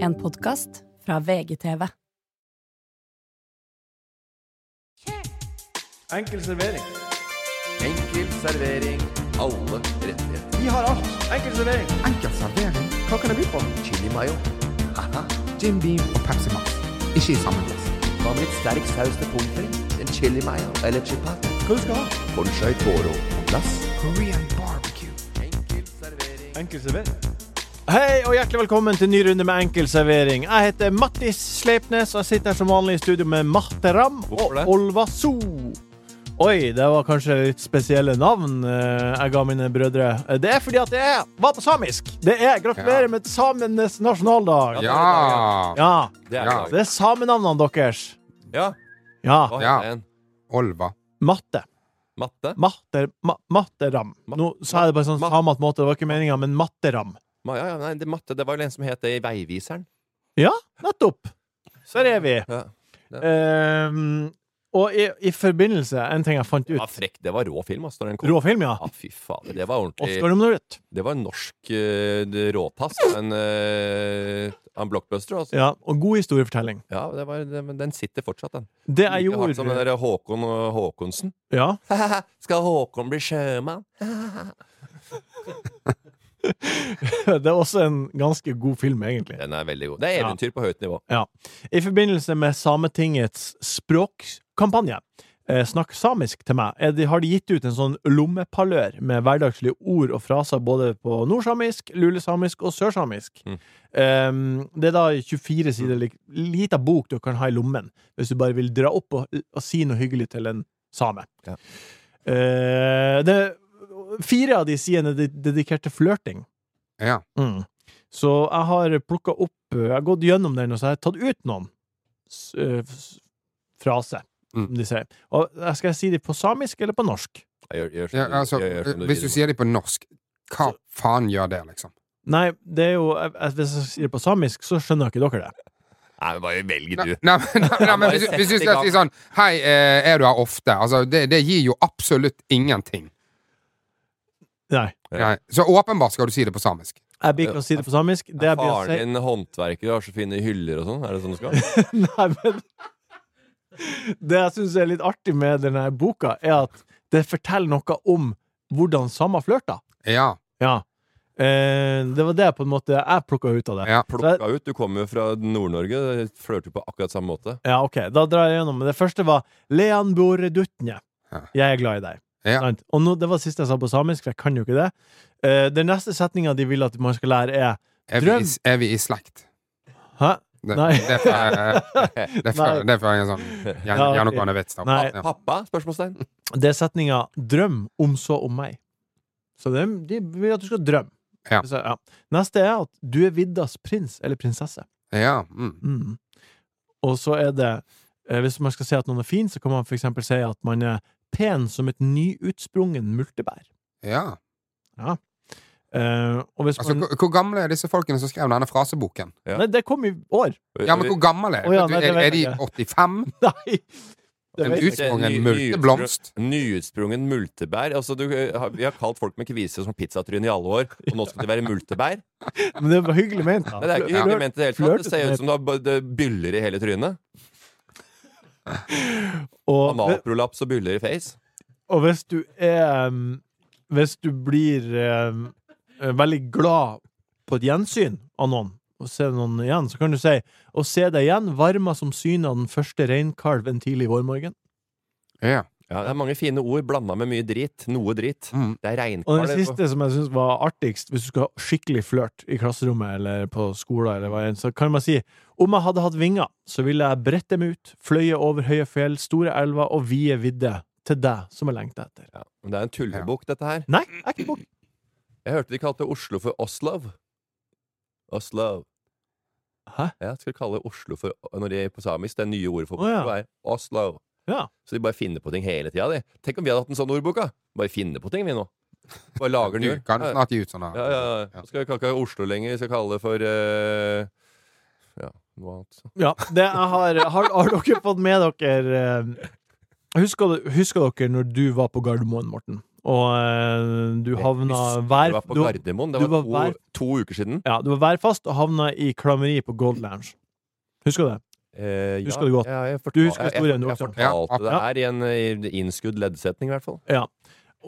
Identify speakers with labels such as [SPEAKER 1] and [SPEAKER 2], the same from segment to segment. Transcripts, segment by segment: [SPEAKER 1] En podkast fra VGTV.
[SPEAKER 2] Enkel servering.
[SPEAKER 3] Enkel servering. Alle rettigheter.
[SPEAKER 2] Vi har alt. Enkel servering.
[SPEAKER 4] Enkel servering,
[SPEAKER 2] Hva kan jeg by på?
[SPEAKER 3] Chili mayo. Haha.
[SPEAKER 4] Jim Beam og Pepsi Max. Ikke i samme glass.
[SPEAKER 3] Hva med litt sterk saus til pommes frites? En chili mayo eller chipat?
[SPEAKER 2] Hva du skal ha?
[SPEAKER 3] Ponchai toro på glass.
[SPEAKER 4] Korean barbecue.
[SPEAKER 3] Enkel servering.
[SPEAKER 2] Enkel servering. Hei og hjertelig velkommen til ny runde med enkel servering. Jeg heter Mattis Sleipnes, og jeg sitter her som vanlig i studio med Marte Ramm og
[SPEAKER 3] Hvorfor det?
[SPEAKER 2] Olva So. Oi, det var kanskje litt spesielle navn eh, jeg ga mine brødre. Eh, Det er fordi at det er, var på samisk. Det er Gratulerer
[SPEAKER 4] Ja.
[SPEAKER 2] med samenes nasjonaldag.
[SPEAKER 4] Ja!
[SPEAKER 2] Ja,
[SPEAKER 3] Det er
[SPEAKER 4] Ja.
[SPEAKER 3] i dag.
[SPEAKER 2] Det er samenavnene deres.
[SPEAKER 3] Ja.
[SPEAKER 2] Ja.
[SPEAKER 3] Hva
[SPEAKER 4] Ja.
[SPEAKER 3] heter den?
[SPEAKER 4] Olva.
[SPEAKER 2] Matte.
[SPEAKER 3] Matte?
[SPEAKER 2] Matter, ma, matteram.
[SPEAKER 3] Ma-
[SPEAKER 2] Nå sa jeg det på en sånn
[SPEAKER 3] ma-
[SPEAKER 2] samat måte, det var ikke meninga, men matteram.
[SPEAKER 3] Ma ja, ja, nei, det, er matte. Det var jo en som het det i Veiviseren.
[SPEAKER 2] Ja, nettopp! Der er vi.
[SPEAKER 3] Ja.
[SPEAKER 2] Ehm, og i, i forbindelse En ting jeg fant
[SPEAKER 3] Det var
[SPEAKER 2] ut.
[SPEAKER 3] frekk. Det var rå film, altså, når den kom.
[SPEAKER 2] Råfilm, ja.
[SPEAKER 3] Ja, fy fader. Det var ordentlig
[SPEAKER 2] Oscar-nominert.
[SPEAKER 3] Det var en norsk eh, det- råtass. En, eh, en blockbuster, altså.
[SPEAKER 2] Ja, og god historiefortelling.
[SPEAKER 3] Ja, det var, det, men den sitter fortsatt, den.
[SPEAKER 2] Det jeg
[SPEAKER 3] Like hardt som den
[SPEAKER 2] gjorde
[SPEAKER 3] der Håkon og Håkonsen.
[SPEAKER 2] ja,
[SPEAKER 3] Skal Håkon bli sjømann?
[SPEAKER 2] Det er også en ganske god film, egentlig.
[SPEAKER 3] Den er veldig god. Det er eventyr på høyt nivå.
[SPEAKER 2] I forbindelse med Sametingets språkkampanje eh, Snakk samisk til meg. Er de, har de gitt ut en sånn lommepalør med hverdagslige ord og fraser både på nordsamisk, lulesamisk og sørsamisk?
[SPEAKER 3] Mm.
[SPEAKER 2] Ehm, det er da 24 sider lik- lita bok du kan ha i lommen hvis du bare vil dra opp og, og si noe hyggelig til en same.
[SPEAKER 3] Ja.
[SPEAKER 2] Eh, det, fire av de sidene er dedikert til flørting.
[SPEAKER 4] Ja.
[SPEAKER 2] Mm. Så jeg har plukka opp eh, Jeg har gått gjennom den, og så har jeg tatt ut noen s- eh, s- fraser.
[SPEAKER 4] Mm.
[SPEAKER 2] som De sier. Og jeg skal jeg si de på samisk eller på norsk?
[SPEAKER 3] Jeg gjør- gjør som
[SPEAKER 4] ja
[SPEAKER 3] du-
[SPEAKER 4] altså,
[SPEAKER 3] Mm. jeg gjør som
[SPEAKER 4] hvis du
[SPEAKER 3] vil.
[SPEAKER 4] sier det på norsk, hva faen gjør det, liksom?
[SPEAKER 2] Nei, det er jo jeg- jeg- Hvis jeg sier det på samisk, så skjønner ikke dere det.
[SPEAKER 3] Nei, men bare velg,
[SPEAKER 4] Nei,
[SPEAKER 3] du.
[SPEAKER 4] nei, men- nei, nei, men hvis, hvis du skal si sånn Hei, eh, er du her ofte? Altså, det, det gir jo absolutt ingenting.
[SPEAKER 2] Nei.
[SPEAKER 4] Nei. Så åpenbart skal du si det på samisk.
[SPEAKER 2] Jeg blir ikke å si det på samisk. Det jeg
[SPEAKER 3] Er
[SPEAKER 2] blir å
[SPEAKER 3] faren
[SPEAKER 2] si
[SPEAKER 3] din håndverker og har så fine hyller og sånn? Er det sånn du skal?
[SPEAKER 2] Nei, men Det jeg syns er litt artig med denne boka, er at det forteller noe om hvordan samer flørter.
[SPEAKER 4] Ja.
[SPEAKER 2] Ja. Eh, det var det på en måte jeg plukka ut av det.
[SPEAKER 4] ja.
[SPEAKER 3] Plukka ut. Du kommer jo fra Nord-Norge. Flørter på akkurat samme måte.
[SPEAKER 2] Ja, ok, da drar jeg gjennom. Det første var Lean Bore Dutnje.
[SPEAKER 4] Ja.
[SPEAKER 2] Jeg er glad i deg.
[SPEAKER 4] Ja.
[SPEAKER 2] Sant? Og nå, det var det siste jeg sa på samisk, for jeg kan jo ikke det. Eh, den neste setninga de vil at man skal lære, er
[SPEAKER 4] Er vi, i, er vi i slekt?
[SPEAKER 2] Hæ?
[SPEAKER 4] Det,
[SPEAKER 2] Nei.
[SPEAKER 4] det er fra- det er fra
[SPEAKER 2] Nei.
[SPEAKER 4] det er fra en sånn
[SPEAKER 2] Ja, ok.
[SPEAKER 4] gjennomgående vits. da.
[SPEAKER 2] Nei.
[SPEAKER 4] Ja.
[SPEAKER 3] Pappa? Spørsmålstegn.
[SPEAKER 2] Det er setninga 'drøm om så om meg'. Så de, de vil at du skal drømme.
[SPEAKER 4] Ja.
[SPEAKER 2] Så, ja. Neste er at du er viddas prins eller prinsesse.
[SPEAKER 4] Ja. Mm.
[SPEAKER 2] Mm. Og så er det eh, Hvis man skal si at noen er fin, så kan man for eksempel si at man er pen som et nyutsprungen multebær.
[SPEAKER 4] ja.
[SPEAKER 2] Eh, og hvis
[SPEAKER 4] Altså,
[SPEAKER 2] man,
[SPEAKER 4] hvor, hvor gamle er disse folkene som skrev denne fraseboken?
[SPEAKER 3] ja.
[SPEAKER 2] Nei, det kom i år.
[SPEAKER 4] Ja, men hvor gammel er
[SPEAKER 2] Å,
[SPEAKER 4] de?
[SPEAKER 2] ja, nei, det
[SPEAKER 4] er,
[SPEAKER 2] vet
[SPEAKER 4] er de
[SPEAKER 2] jeg
[SPEAKER 4] 85?
[SPEAKER 2] Nei! Det
[SPEAKER 4] En
[SPEAKER 2] vet jeg ikke.
[SPEAKER 3] Ny-
[SPEAKER 4] utsprungen
[SPEAKER 3] ny-
[SPEAKER 4] multeblomst?
[SPEAKER 3] Nyutsprungen multebær. Altså, du, har- vi har kalt folk med kvise som pizzatryne i alle år, og nå skal de være multebær?
[SPEAKER 2] Men det var hyggelig ment. da.
[SPEAKER 3] Nei, det er ikke
[SPEAKER 4] Ja.
[SPEAKER 3] hyggelig ment i det hele tatt.
[SPEAKER 2] Flørt-
[SPEAKER 3] Det ser ut som du har b- det byller i hele trynet.
[SPEAKER 2] Og,
[SPEAKER 3] Amalprolaps og byller i face.
[SPEAKER 2] og hvis du er um, Hvis du blir um, veldig glad på et gjensyn av noen, og ser noen igjen, så kan du si 'Å se deg igjen varma som synet av den første reinkalv en tidlig vårmorgen'.
[SPEAKER 4] Ja.
[SPEAKER 3] Ja, det er mange fine ord blanda med mye drit. Noe drit.
[SPEAKER 4] Mm.
[SPEAKER 3] Det er
[SPEAKER 2] Og
[SPEAKER 3] reinkar.
[SPEAKER 2] den
[SPEAKER 3] det-
[SPEAKER 2] siste som jeg syns var artigst, hvis du skal ha skikkelig flørt i klasserommet eller på skolen, eller hva enn, så kan man si 'Om jeg hadde hatt vinger, så ville jeg bredt dem ut, fløye over høye fjell, store elver og vide vidde til deg som jeg lengter etter'.
[SPEAKER 3] Ja, men det er en tullebukk, dette her.
[SPEAKER 2] Nei, jeg er ikke bok.
[SPEAKER 3] Jeg hørte de kalte Oslo for Oslo. Oslo.
[SPEAKER 2] Hæ?
[SPEAKER 3] Ja, skulle kalle Oslo for Når de er på samisk, det nye ordet for
[SPEAKER 2] Å, ja.
[SPEAKER 3] Oslo er Oslo.
[SPEAKER 2] Ja.
[SPEAKER 3] Så de bare finner på ting hele tida, de. Tenk om vi hadde hatt en sånn ordbok, da. Bare finner på ting, vi nå. Bare lager
[SPEAKER 4] Du
[SPEAKER 3] nye.
[SPEAKER 4] kan
[SPEAKER 3] Ja,
[SPEAKER 4] snart gi ut sånne.
[SPEAKER 3] ja, ja, ja.
[SPEAKER 4] Ja.
[SPEAKER 3] Så Skal vi kalle det Oslo lenger? Vi skal kalle det for eh, Ja, noe annet.
[SPEAKER 2] Ja, det jeg har, har, har dere fått med dere eh, husker, du- husker dere når du var på Gardermoen, Morten, og eh, du havna
[SPEAKER 3] Du
[SPEAKER 2] vær...
[SPEAKER 3] var på
[SPEAKER 2] Du,
[SPEAKER 3] Gardermoen. Det
[SPEAKER 2] du
[SPEAKER 3] var,
[SPEAKER 2] var hver-
[SPEAKER 3] to, to uker siden.
[SPEAKER 2] ja, du var værfast og havna i klammeri på Gold Lounge. Husker du det?
[SPEAKER 3] Eh, ja,
[SPEAKER 2] Husker du godt?
[SPEAKER 3] Ja, jeg fortal,
[SPEAKER 2] Du husker historien, du
[SPEAKER 3] jeg, jeg,
[SPEAKER 2] også.
[SPEAKER 3] fortalte
[SPEAKER 2] Ja.
[SPEAKER 3] det her i en eh, innskudd leddsetning, i hvert fall.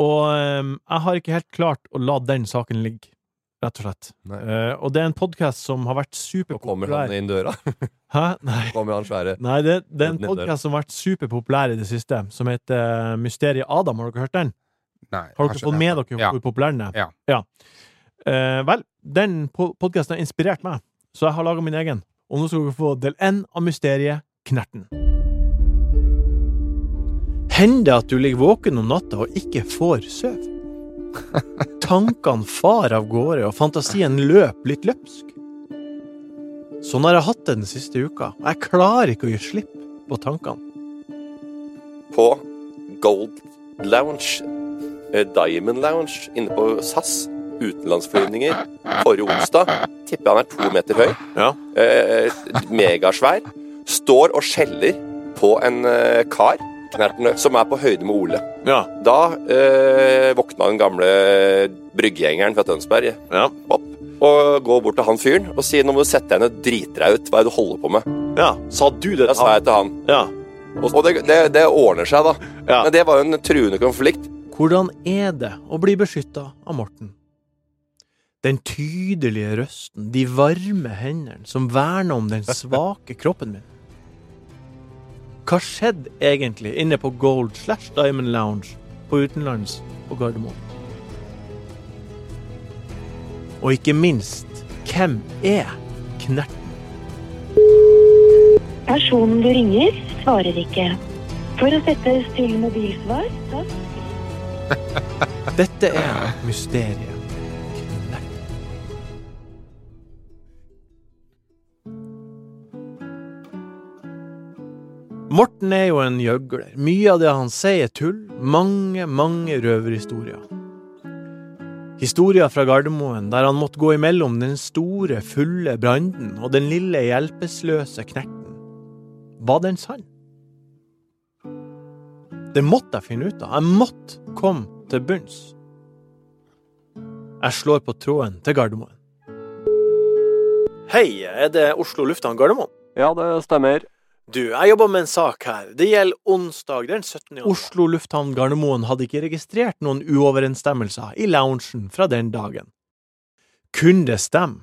[SPEAKER 2] Og ehm, jeg har ikke helt klart å la den saken ligge, rett og slett.
[SPEAKER 3] Nei.
[SPEAKER 2] Eh, og det er en podkast som har vært
[SPEAKER 3] Nå kommer
[SPEAKER 2] superpopulær
[SPEAKER 3] han inn døra.
[SPEAKER 2] Hæ? Nei.
[SPEAKER 3] Kommer han svære
[SPEAKER 2] Nei, det, det er en
[SPEAKER 3] Ned døra.
[SPEAKER 2] podkast som har vært superpopulær i det siste, som heter eh, Mysteriet Adam. Har dere hørt den?
[SPEAKER 4] Nei,
[SPEAKER 2] Har dere
[SPEAKER 4] ikke-
[SPEAKER 2] fått med dere
[SPEAKER 4] Ja.
[SPEAKER 2] hvor populær den er?
[SPEAKER 4] Ja.
[SPEAKER 2] Eh, vel, den podkasten har inspirert meg, så jeg har laga min egen. Og nå skal dere få del én av Mysteriet Knerten. Hender det at du ligger våken om natta og ikke får søv? Tankene far av gårde, og fantasien løp litt løpsk. Sånn har jeg hatt det den siste uka, og jeg klarer ikke å gi slipp på tankene.
[SPEAKER 3] på Gold Lounge, eh, Diamond Lounge, inne på SAS. Utenlandsflyvninger. Forrige onsdag. Tipper han er to meter høy.
[SPEAKER 2] Ja.
[SPEAKER 3] Eh, megasvær. Står og skjeller på en eh, kar Knerten, som er på høyde med Ole.
[SPEAKER 2] Ja.
[SPEAKER 3] Da eh, våkna den gamle bryggegjengeren fra Tønsberg
[SPEAKER 2] Ja.
[SPEAKER 3] opp og går bort til han fyren og sier nå må du sette deg ned og drite deg ut. Hva er det du holder på med?
[SPEAKER 2] ja. Sa du det?
[SPEAKER 3] Da sa jeg til han.
[SPEAKER 2] Ja.
[SPEAKER 3] Og, og det, det, det ordner seg, da.
[SPEAKER 2] Ja.
[SPEAKER 3] Men det var jo en truende konflikt.
[SPEAKER 2] Hvordan er det å bli beskytta av Morten? Den tydelige røsten, de varme hendene som verner om den svake kroppen min. Hva skjedde egentlig inne på Gold slash Diamond Lounge på utenlands på Gardermoen? Og ikke minst, hvem er Knerten?
[SPEAKER 5] Personen du ringer, svarer ikke. For å settes til mobilsvar, tast
[SPEAKER 2] Dette er mysteriet Knerten. Morten er jo en gjøgler. Mye av det han sier er tull. Mange, mange røverhistorier. Historier fra Gardermoen der han måtte gå imellom den store, fulle Branden og den lille, hjelpeløse Knerten. Var den sann? Det måtte jeg finne ut av. Jeg måtte komme til bunns. Jeg slår på tråden til Gardermoen. Hei, er det Oslo lufthavn Gardermoen?
[SPEAKER 6] Ja, det stemmer.
[SPEAKER 2] Du, jeg jobber med en sak her. Det gjelder onsdag den 17. januar. Oslo lufthavn Gardermoen hadde ikke registrert noen uoverensstemmelser i loungen fra den dagen. Kunne det stemme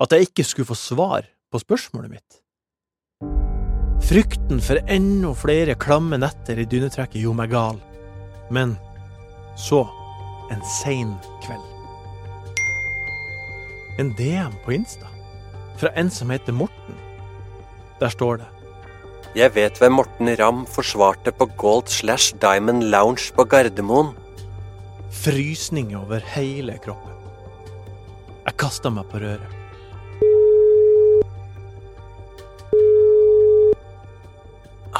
[SPEAKER 2] at jeg ikke skulle få svar på spørsmålet mitt? Frykten for enda flere klamme netter i dynetrekket gjorde meg gal. Men så, en sein kveld En DM på Insta fra en som heter Morten. Der står det
[SPEAKER 6] Jeg vet hvem Morten Ramm forsvarte på Gold slash Diamond Lounge på Gardermoen.
[SPEAKER 2] Frysninger over hele kroppen. Jeg kasta meg på røret.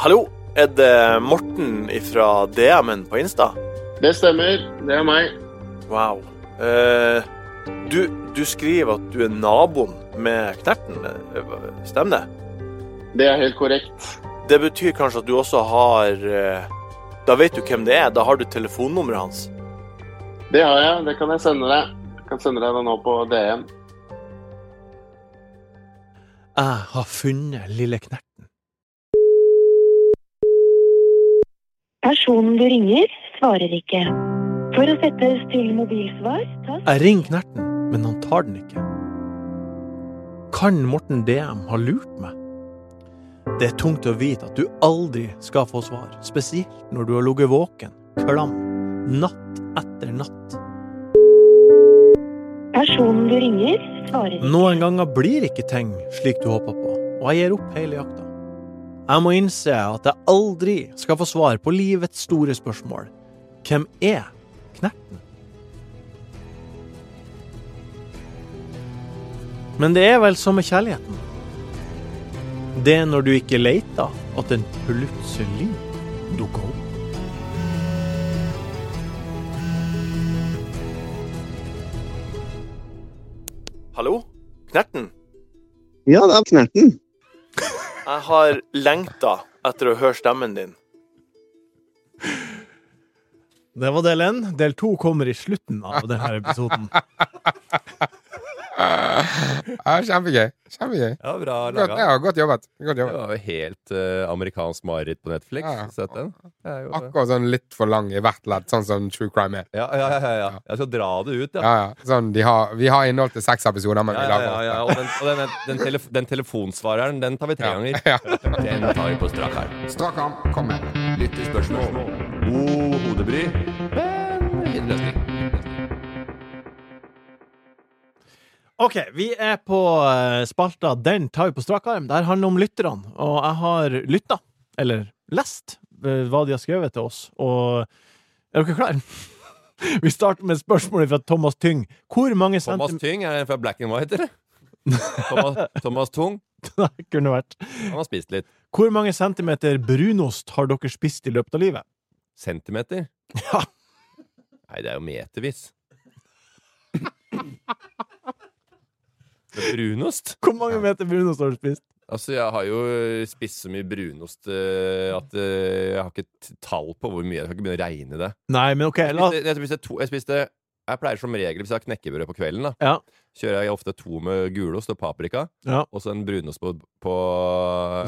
[SPEAKER 2] Hallo, er det Morten fra DM-en på Insta?
[SPEAKER 7] Det stemmer. Det er meg.
[SPEAKER 2] Wow. Eh, du, du skriver at du er naboen med Knerten, eh, stemmer det?
[SPEAKER 7] Det er helt korrekt.
[SPEAKER 2] Det betyr kanskje at du også har eh, Da vet du hvem det er, da har du telefonnummeret hans.
[SPEAKER 7] Det har jeg. Det kan jeg sende deg. Jeg kan sende deg det nå på DM.
[SPEAKER 2] Jeg har funnet lille Knerten.
[SPEAKER 5] Personen du ringer, svarer ikke. For å settes til mobilsvar, tast
[SPEAKER 2] Jeg ringer Knerten, men han tar den ikke. Kan Morten DM ha lurt meg? Det er tungt å vite at du aldri skal få svar, spesielt når du har ligget våken, klam, natt etter natt.
[SPEAKER 5] Personen du ringer, svarer ikke.
[SPEAKER 2] Noen ganger blir ikke ting slik du håper på, og jeg gir opp hele jakta. Jeg må innse at jeg aldri skal få svar på livets store spørsmål. Hvem er Knerten? Men det er vel som med kjærligheten. Det er når du ikke leter, at den plutselig dukker opp. Hallo? Knerten?
[SPEAKER 8] Ja, det er Knerten.
[SPEAKER 2] Jeg har lengta etter å høre stemmen din. Det var del én. Del to kommer i slutten av denne episoden.
[SPEAKER 4] Ja, kjempegøy. Kjempegøy.
[SPEAKER 3] Ja, bra
[SPEAKER 4] Godt,
[SPEAKER 3] laga.
[SPEAKER 4] ja, godt jobbet. Godt
[SPEAKER 3] Det
[SPEAKER 4] jobbet.
[SPEAKER 3] var jo helt eh, amerikansk mareritt på Netflix.
[SPEAKER 4] Ja, ja.
[SPEAKER 3] Sett den? Det er jo-
[SPEAKER 4] Akkurat sånn litt for lang i hvert ledd, sånn som True Crime er.
[SPEAKER 3] Ja, ja, ja, ja, ja. Jeg skal dra det ut, ja.
[SPEAKER 4] Ja, ja. Sånn, de har, vi har innhold til seks episoder, men
[SPEAKER 3] Ja,
[SPEAKER 4] vi
[SPEAKER 3] ja, ja,
[SPEAKER 4] lager
[SPEAKER 3] ja.
[SPEAKER 4] åtte.
[SPEAKER 3] Og, den, og den, den, telef den telefonsvareren, den tar vi tre ganger.
[SPEAKER 4] Ja.
[SPEAKER 3] Den tar vi på strak arm.
[SPEAKER 4] Strak arm. Kom med.
[SPEAKER 3] Lyttespørsmål. God hodebry, men fin løsning.
[SPEAKER 2] OK, vi er på eh, spalta Den tar vi på strak arm. Det her handler om lytterne, og jeg har lytta, eller lest, eh, hva de har skrevet til oss, og Er dere klare? Vi starter med spørsmålet fra Thomas Tyng. Hvor mange
[SPEAKER 3] Thomas
[SPEAKER 2] centimeter
[SPEAKER 3] Tyng, er den fra Black and White, eller? Thomas, Thomas Tung,
[SPEAKER 2] Det kunne vært.
[SPEAKER 3] han har spist litt.
[SPEAKER 2] Hvor mange centimeter brunost har dere spist i løpet av livet?
[SPEAKER 3] Centimeter?
[SPEAKER 2] Ja.
[SPEAKER 3] Nei, det er jo metervis. Men Brunost?
[SPEAKER 2] Hvor mange meter brunost har du spist?
[SPEAKER 3] Altså, jeg har jo spist så mye brunost eh, at eh, jeg har ikke t- tall på hvor mye. Jeg skal ikke begynne å regne det.
[SPEAKER 2] Nei, men OK, la
[SPEAKER 3] Jeg, jeg, spiste to, jeg spiste Jeg pleier som regel, hvis jeg har knekkebrød på kvelden, da,
[SPEAKER 2] Ja.
[SPEAKER 3] kjører jeg ofte to med gulost og paprika,
[SPEAKER 2] Ja.
[SPEAKER 3] og så en brunost på, på,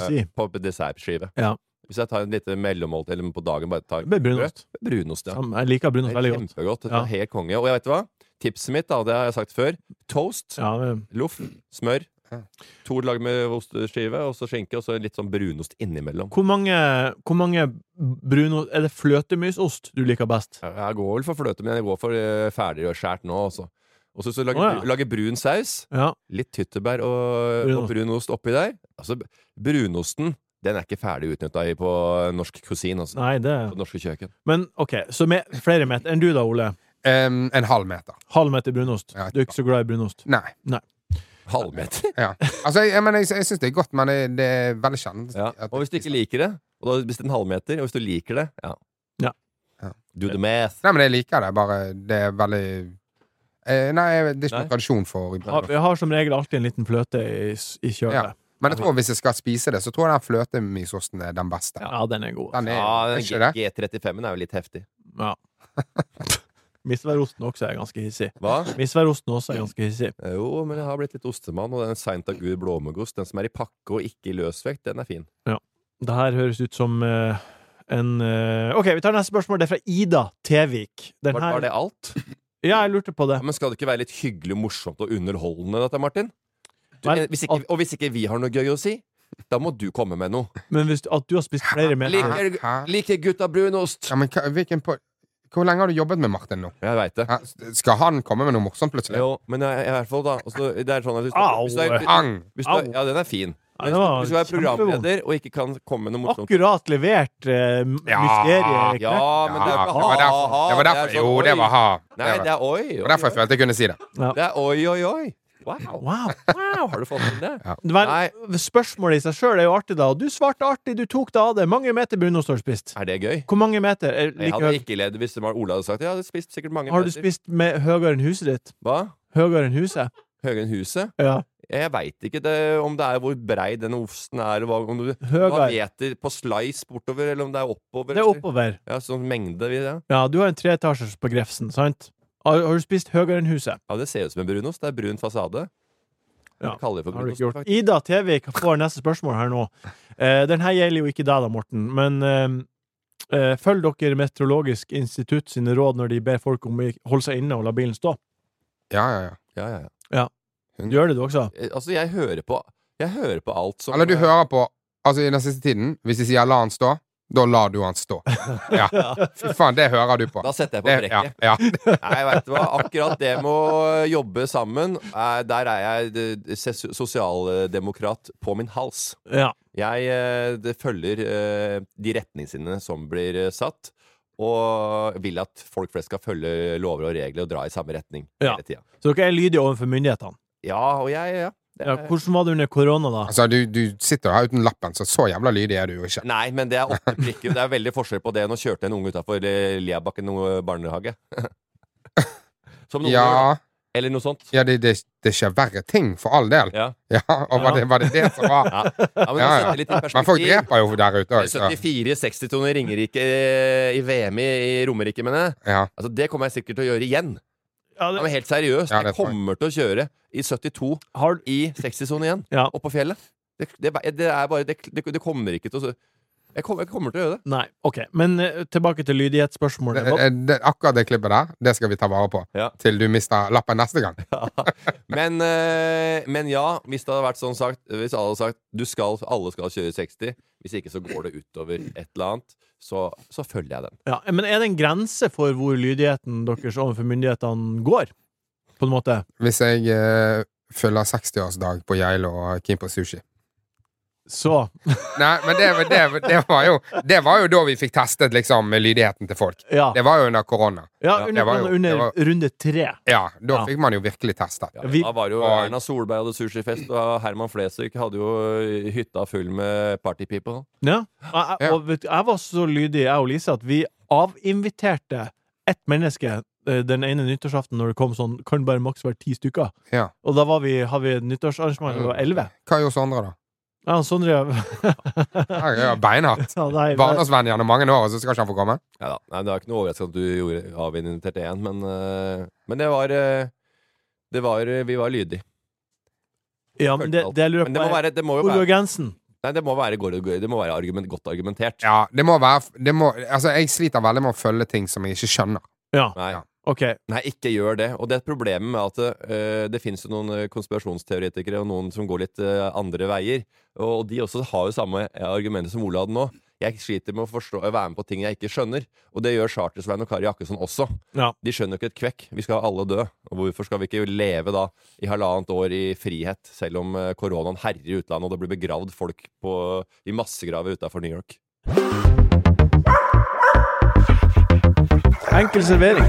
[SPEAKER 2] Si.
[SPEAKER 3] på dessertskive.
[SPEAKER 2] Ja.
[SPEAKER 3] Hvis jeg tar en liten mellommåltid eller på dagen bare tar
[SPEAKER 2] Det blir brunost.
[SPEAKER 3] eh, brød, brunost ja.
[SPEAKER 2] Samme. Jeg liker
[SPEAKER 3] Det
[SPEAKER 2] brunost
[SPEAKER 3] er
[SPEAKER 2] veldig godt.
[SPEAKER 3] kjempegodt. Det
[SPEAKER 2] Ja.
[SPEAKER 3] er Helt konge. Og jeg vet hva? Tipset mitt, da, det har jeg sagt før, toast,
[SPEAKER 2] Ja, eh, det-
[SPEAKER 3] loff, smør.
[SPEAKER 4] Ja.
[SPEAKER 3] To lag med osteskive, og så skinke, og så litt sånn brunost innimellom.
[SPEAKER 2] Hvor mange, hvor mange brunost Er det fløtemysost du liker best?
[SPEAKER 3] Ja, Jeg går vel for fløte, men jeg går for eh, ferdig og skjært nå, altså. Og så så lager,
[SPEAKER 2] Å, ja.
[SPEAKER 3] lager brun saus.
[SPEAKER 2] Ja.
[SPEAKER 3] Litt tyttebær og, og brunost oppi der. Altså, brunosten den er ikke ferdig utnytta på norsk kusin, altså.
[SPEAKER 2] Nei, det
[SPEAKER 3] På norske kjøkken.
[SPEAKER 2] Men OK, så med flere meter enn du da, Ole.
[SPEAKER 4] Em, en halv meter.
[SPEAKER 2] Halv meter brunost.
[SPEAKER 4] Ja,
[SPEAKER 2] Du er ikke så glad i brunost.
[SPEAKER 4] Nei.
[SPEAKER 3] Halvmeter!
[SPEAKER 4] Ja. Altså, jeg, jeg, mener, jeg, jeg syns det er godt, men det, det er veldig sjelden.
[SPEAKER 3] Ja.
[SPEAKER 4] at-
[SPEAKER 3] Og hvis du ikke liker det, og da hvis det er en halvmeter, og hvis du liker det, ja.
[SPEAKER 2] Ja.
[SPEAKER 4] Ja.
[SPEAKER 3] Do the math.
[SPEAKER 4] Nei, men jeg liker det, bare det er veldig eh, Nei, det er ikke
[SPEAKER 3] Nei.
[SPEAKER 4] noen tradisjon for
[SPEAKER 2] Ja, Jeg har som regel alltid en liten fløte i, s- i
[SPEAKER 4] Ja.
[SPEAKER 2] kjølet.
[SPEAKER 4] Men jeg tror hvis jeg skal spise det, så tror jeg den fløtemysosten er den beste.
[SPEAKER 2] Ja. den er god.
[SPEAKER 4] Den er,
[SPEAKER 3] Ja,
[SPEAKER 4] er
[SPEAKER 3] den
[SPEAKER 4] ikke det?
[SPEAKER 3] G- G35-en er jo litt heftig.
[SPEAKER 2] Ja. Misværosten også er ganske hissig.
[SPEAKER 3] Hva? Eh,
[SPEAKER 2] Misværosten også er ganske hissig.
[SPEAKER 3] Jo, men jeg har blitt litt ostemann, og den Saint Agur blåmuggost, den som er i pakke og ikke i løsvekt, den er fin.
[SPEAKER 2] Det her høres ut som eh, en eh, OK, vi tar neste spørsmål. Det er fra Ida Tevik. Den
[SPEAKER 3] Var,
[SPEAKER 2] her-
[SPEAKER 3] var det alt?
[SPEAKER 2] Ja, jeg lurte på det.
[SPEAKER 3] Ja, men skal det ikke være litt hyggelig, morsomt og underholdende, dette, Martin? Du,
[SPEAKER 2] Vel,
[SPEAKER 3] eh, hvis ikke, og hvis ikke vi har noe gøy å si, da må du komme med noe.
[SPEAKER 2] Men hvis, at du har spist flere meter
[SPEAKER 3] Liker,
[SPEAKER 4] Hæ?
[SPEAKER 3] liker gutta brunost?
[SPEAKER 4] Ja, men hva- hvilken på... Hvor lenge har du jobbet med Martin nå?
[SPEAKER 3] Jeg veit det.
[SPEAKER 4] Hæ? Skal han komme med noe morsomt plutselig?
[SPEAKER 3] Jo, men jeg, jeg, i hvert fall, da. Altså, det er sånn at hvis du,
[SPEAKER 2] Au.
[SPEAKER 3] hvis du, er-
[SPEAKER 4] Pang!
[SPEAKER 3] hvis du er, Ja, den er fin.
[SPEAKER 2] Ja,
[SPEAKER 3] Men
[SPEAKER 2] det var
[SPEAKER 3] Hvis du er programleder
[SPEAKER 2] kjempevondt.
[SPEAKER 3] og ikke kan komme med noe morsomt
[SPEAKER 2] Akkurat levert eh,
[SPEAKER 4] Ja,
[SPEAKER 2] mysteriet
[SPEAKER 3] Ja, men det er
[SPEAKER 4] Ja, det
[SPEAKER 3] ikke
[SPEAKER 4] var derfor.
[SPEAKER 3] ha-ha.
[SPEAKER 4] Det var derfor.
[SPEAKER 3] sånn,
[SPEAKER 4] Jo, det var ha.
[SPEAKER 3] oi.
[SPEAKER 4] Det
[SPEAKER 3] Nei,
[SPEAKER 4] var-
[SPEAKER 3] det er oi.
[SPEAKER 4] det
[SPEAKER 3] oi,
[SPEAKER 4] var derfor jeg
[SPEAKER 3] oi.
[SPEAKER 4] følte jeg kunne si det.
[SPEAKER 3] Det er oi, oi, oi. Wow.
[SPEAKER 2] Wow.
[SPEAKER 3] wow. Har du fått til det?
[SPEAKER 2] Vel,
[SPEAKER 3] Nei.
[SPEAKER 2] spørsmålet i seg sjøl er jo artig, da. Og du svarte artig, du tok deg av det. Mange meter brunost har du spist?
[SPEAKER 3] Er det gøy?
[SPEAKER 2] Hvor mange meter? Er,
[SPEAKER 3] Jeg
[SPEAKER 2] like,
[SPEAKER 3] hadde
[SPEAKER 2] høy-
[SPEAKER 3] ikke ledd hvis det var Ola hadde sagt Jeg hadde spist sikkert mange
[SPEAKER 2] har du
[SPEAKER 3] meter.
[SPEAKER 2] spist med høyere enn huset ditt?
[SPEAKER 3] Hva?
[SPEAKER 2] Høyere enn huset?
[SPEAKER 3] Høyere enn huset?
[SPEAKER 2] Ja.
[SPEAKER 3] Jeg veit ikke det, om det er hvor brei den osten er, eller hva, om du hva
[SPEAKER 2] Høyere.
[SPEAKER 3] meter på slice bortover, eller om det er oppover.
[SPEAKER 2] Det er
[SPEAKER 3] eller-
[SPEAKER 2] oppover.
[SPEAKER 3] Ja, sånn mengde. vi- Ja.
[SPEAKER 2] Ja, du har en treetasjers på Grefsen, sant? Har, har du spist høyere enn huset?
[SPEAKER 3] ja, det ser ut som en brunost. Det er brun fasade.
[SPEAKER 2] Ja,
[SPEAKER 3] Det kaller vi for
[SPEAKER 2] Har du
[SPEAKER 3] brunost.
[SPEAKER 2] ikke gjort.
[SPEAKER 3] faktisk.
[SPEAKER 2] Ida Tevik får neste spørsmål her nå. Eh, den her gjelder jo ikke deg da, Morten, men eh, eh, følg dere Meteorologisk institutt sine råd når de ber folk om å ikke- holde seg inne og la bilen stå.
[SPEAKER 4] Ja, ja, ja.
[SPEAKER 3] Ja, ja, ja.
[SPEAKER 2] Du gjør det, du også?
[SPEAKER 3] Eh, Altså, jeg hører på Jeg hører på alt som
[SPEAKER 4] Eller du hører på Altså, i den siste tiden, hvis de sier 'la han stå', da lar du han stå. Ja. Fy faen, det hører du på.
[SPEAKER 3] Da setter jeg på
[SPEAKER 4] Det, ja,
[SPEAKER 3] brekket.
[SPEAKER 4] ja.
[SPEAKER 3] Nei, vet du hva. Akkurat det med å jobbe sammen, eh, der er jeg eh, ses- sosialdemokrat på min hals.
[SPEAKER 2] Ja.
[SPEAKER 3] Jeg eh, det følger eh, de retningslinjene som blir eh, satt, og vil at folk flest skal følge lover og regler og dra i samme retning
[SPEAKER 2] Ja.
[SPEAKER 3] hele tida.
[SPEAKER 2] Så dere er lydige overfor myndighetene.
[SPEAKER 3] Ja, og jeg ja. Det
[SPEAKER 2] Ja,
[SPEAKER 3] er-
[SPEAKER 2] hvordan var det under korona, da?
[SPEAKER 4] Altså, du, du sitter jo her uten lappen, så så jævla lydig er du jo ikke.
[SPEAKER 3] Nei, men det er åtte prikker. Det er veldig forskjell på det. Nå eh, kjørte jeg en unge utafor Liabakken barnehage. Som noen gjør.
[SPEAKER 4] Ja,
[SPEAKER 3] Eller noe sånt.
[SPEAKER 4] Ja, det, det, det skjer verre ting, for all del.
[SPEAKER 3] Ja.
[SPEAKER 4] Ja, og var det, var det det som var
[SPEAKER 3] Ja, ja men
[SPEAKER 4] Ja, ja.
[SPEAKER 3] sette litt i
[SPEAKER 4] Men folk
[SPEAKER 3] perspektiv.
[SPEAKER 4] dreper jo der ute òg.
[SPEAKER 3] 74-60 toner i Ringerike eh, i VM i, i Romerike, mener jeg.
[SPEAKER 4] Ja.
[SPEAKER 3] Altså, det kommer jeg sikkert til å gjøre igjen.
[SPEAKER 2] Ja,
[SPEAKER 3] Ja,
[SPEAKER 2] det,
[SPEAKER 3] men helt seriøst,
[SPEAKER 4] Ja, det
[SPEAKER 3] jeg
[SPEAKER 4] tror jeg.
[SPEAKER 3] kommer til å kjøre i 72
[SPEAKER 2] har,
[SPEAKER 3] i 60-sone igjen.
[SPEAKER 2] Ja.
[SPEAKER 3] Oppå fjellet. Det, det, det er bare Det, det, det kommer ikke til å jeg kommer, jeg kommer til å gjøre det.
[SPEAKER 2] nei, OK. Men eh, tilbake til lydighetsspørsmålet.
[SPEAKER 4] Det, eh,
[SPEAKER 2] Hva-
[SPEAKER 4] det, akkurat det klippet der, det skal vi ta vare på.
[SPEAKER 3] Ja.
[SPEAKER 4] Til du mister lappen neste gang.
[SPEAKER 3] Men, eh, men ja, hvis det hadde vært sånn sagt Hvis alle hadde sagt du skal, alle skal kjøre 60, hvis ikke så går det utover et eller annet, så, så følger jeg den.
[SPEAKER 2] Ja, men er det en grense for hvor lydigheten deres overfor myndighetene går? På en måte.
[SPEAKER 4] Hvis jeg eh, fyller 60-årsdag på Geilo og er keen på sushi.
[SPEAKER 2] Så
[SPEAKER 4] Nei, men det, var- det, var- det, var jo, det var jo da vi fikk testet liksom lydigheten til folk.
[SPEAKER 2] Ja,
[SPEAKER 4] Det var jo under korona.
[SPEAKER 2] ja
[SPEAKER 4] det
[SPEAKER 2] under,
[SPEAKER 4] var jo-
[SPEAKER 2] under
[SPEAKER 4] det var-
[SPEAKER 2] runde tre.
[SPEAKER 4] Ja, da
[SPEAKER 2] Ja.
[SPEAKER 4] fikk man jo virkelig testet.
[SPEAKER 3] Ja,
[SPEAKER 2] Vi-
[SPEAKER 3] da var jo
[SPEAKER 4] Og-
[SPEAKER 3] Erna Solberg hadde sushifest, og Herman Flesvig hadde jo hytta full med partypeople.
[SPEAKER 2] Ja. Og, jeg-
[SPEAKER 4] Ja.
[SPEAKER 2] og vet, du, jeg var så lydig, jeg og Lise, at vi avinviterte ett menneske eh, den ene nyttårsaften når det kom sånn Kan bare maks være ti stykker.
[SPEAKER 4] Ja.
[SPEAKER 2] Og da var vi, har vi et nyttårsarrangement, det var elleve.
[SPEAKER 4] Hva gjorde Sondre, da?
[SPEAKER 2] Ja, Sondre
[SPEAKER 4] Ja, ja, Beinhardt.
[SPEAKER 2] ja, nei,
[SPEAKER 4] Barndomsvenn gjennom mange år, og så skal ikke han få komme?
[SPEAKER 3] Ja da. Nei, det var ikke noe overraskende at du gjorde avinviterte én, men, eh, men det var eh, det var, eh, Vi var lydige.
[SPEAKER 2] ja, men det, det jeg lurer
[SPEAKER 3] Men det må,
[SPEAKER 2] på, er
[SPEAKER 3] være, det må jo
[SPEAKER 2] hvor går
[SPEAKER 3] være,
[SPEAKER 2] grensen?
[SPEAKER 3] nei, det må være, går det- det må være argument, godt argumentert.
[SPEAKER 4] Ja, det må være det må, Altså, jeg sliter veldig med å følge ting som jeg ikke skjønner.
[SPEAKER 2] Ja,
[SPEAKER 3] Nei,
[SPEAKER 4] Ja.
[SPEAKER 2] OK.
[SPEAKER 3] nei, ikke gjør det. Og det er problemet med at eh, det finnes jo noen eh, konspirasjonsteoretikere og noen som går litt eh, andre veier. Og de også har jo samme eh, argumenter som Ola hadde nå. Jeg sliter med å forstå, å være med på ting jeg ikke skjønner. Og det gjør Chartersveien og Kari Jakkesson også.
[SPEAKER 2] Ja.
[SPEAKER 3] De skjønner jo ikke et kvekk. Vi skal alle dø. Og hvorfor skal vi ikke leve da i halvannet år i frihet, selv om eh, koronaen herjer i utlandet, og det blir begravd folk på, i massegraver utafor New York?
[SPEAKER 2] Enkel servering.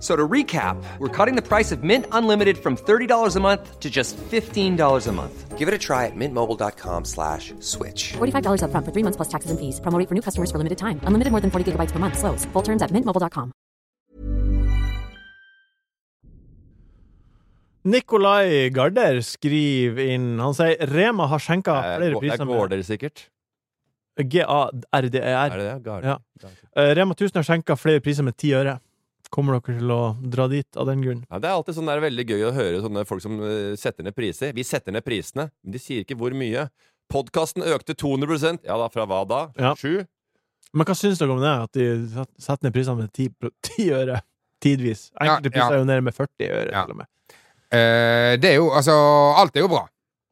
[SPEAKER 6] So to recap, we're cutting the price of Mint Unlimited from $30 a month to just $15 a month. Give it a try at mintmobile.com slash switch.
[SPEAKER 9] $45 up front for three months plus taxes and fees. Promo rate for new customers for limited time. Unlimited more than 40 gigabytes per month. Slows. Full terms at mintmobile.com.
[SPEAKER 2] Nikolai Garder skriver inn Han sier Rema har skjenka flere
[SPEAKER 3] det
[SPEAKER 2] priser
[SPEAKER 3] er
[SPEAKER 2] med
[SPEAKER 3] gårder, eh, sikkert. Er
[SPEAKER 2] G-A-R-D-E-R.
[SPEAKER 3] det det? Garder.
[SPEAKER 2] Ja. Eh, Rema 1000 har skjenka flere priser med ti øre. Kommer dere til å dra dit av den grunn?
[SPEAKER 3] Ja, det er alltid sånn der veldig gøy å høre sånne folk som eh, setter ned priser. Vi setter ned prisene, men de sier ikke hvor mye. Podkasten økte 200 Ja da, fra hva da?
[SPEAKER 2] Ja.
[SPEAKER 3] Sju?
[SPEAKER 2] Men hva syns dere om det? At de set- setter ned prisene med ti, pro- ti øre? Tidvis. Enkelte
[SPEAKER 4] Ja,
[SPEAKER 2] priser
[SPEAKER 4] ja.
[SPEAKER 2] er jo nede med 40 øre,
[SPEAKER 4] Ja.
[SPEAKER 2] til og med.
[SPEAKER 4] Eh, det er jo, altså, alt er jo bra.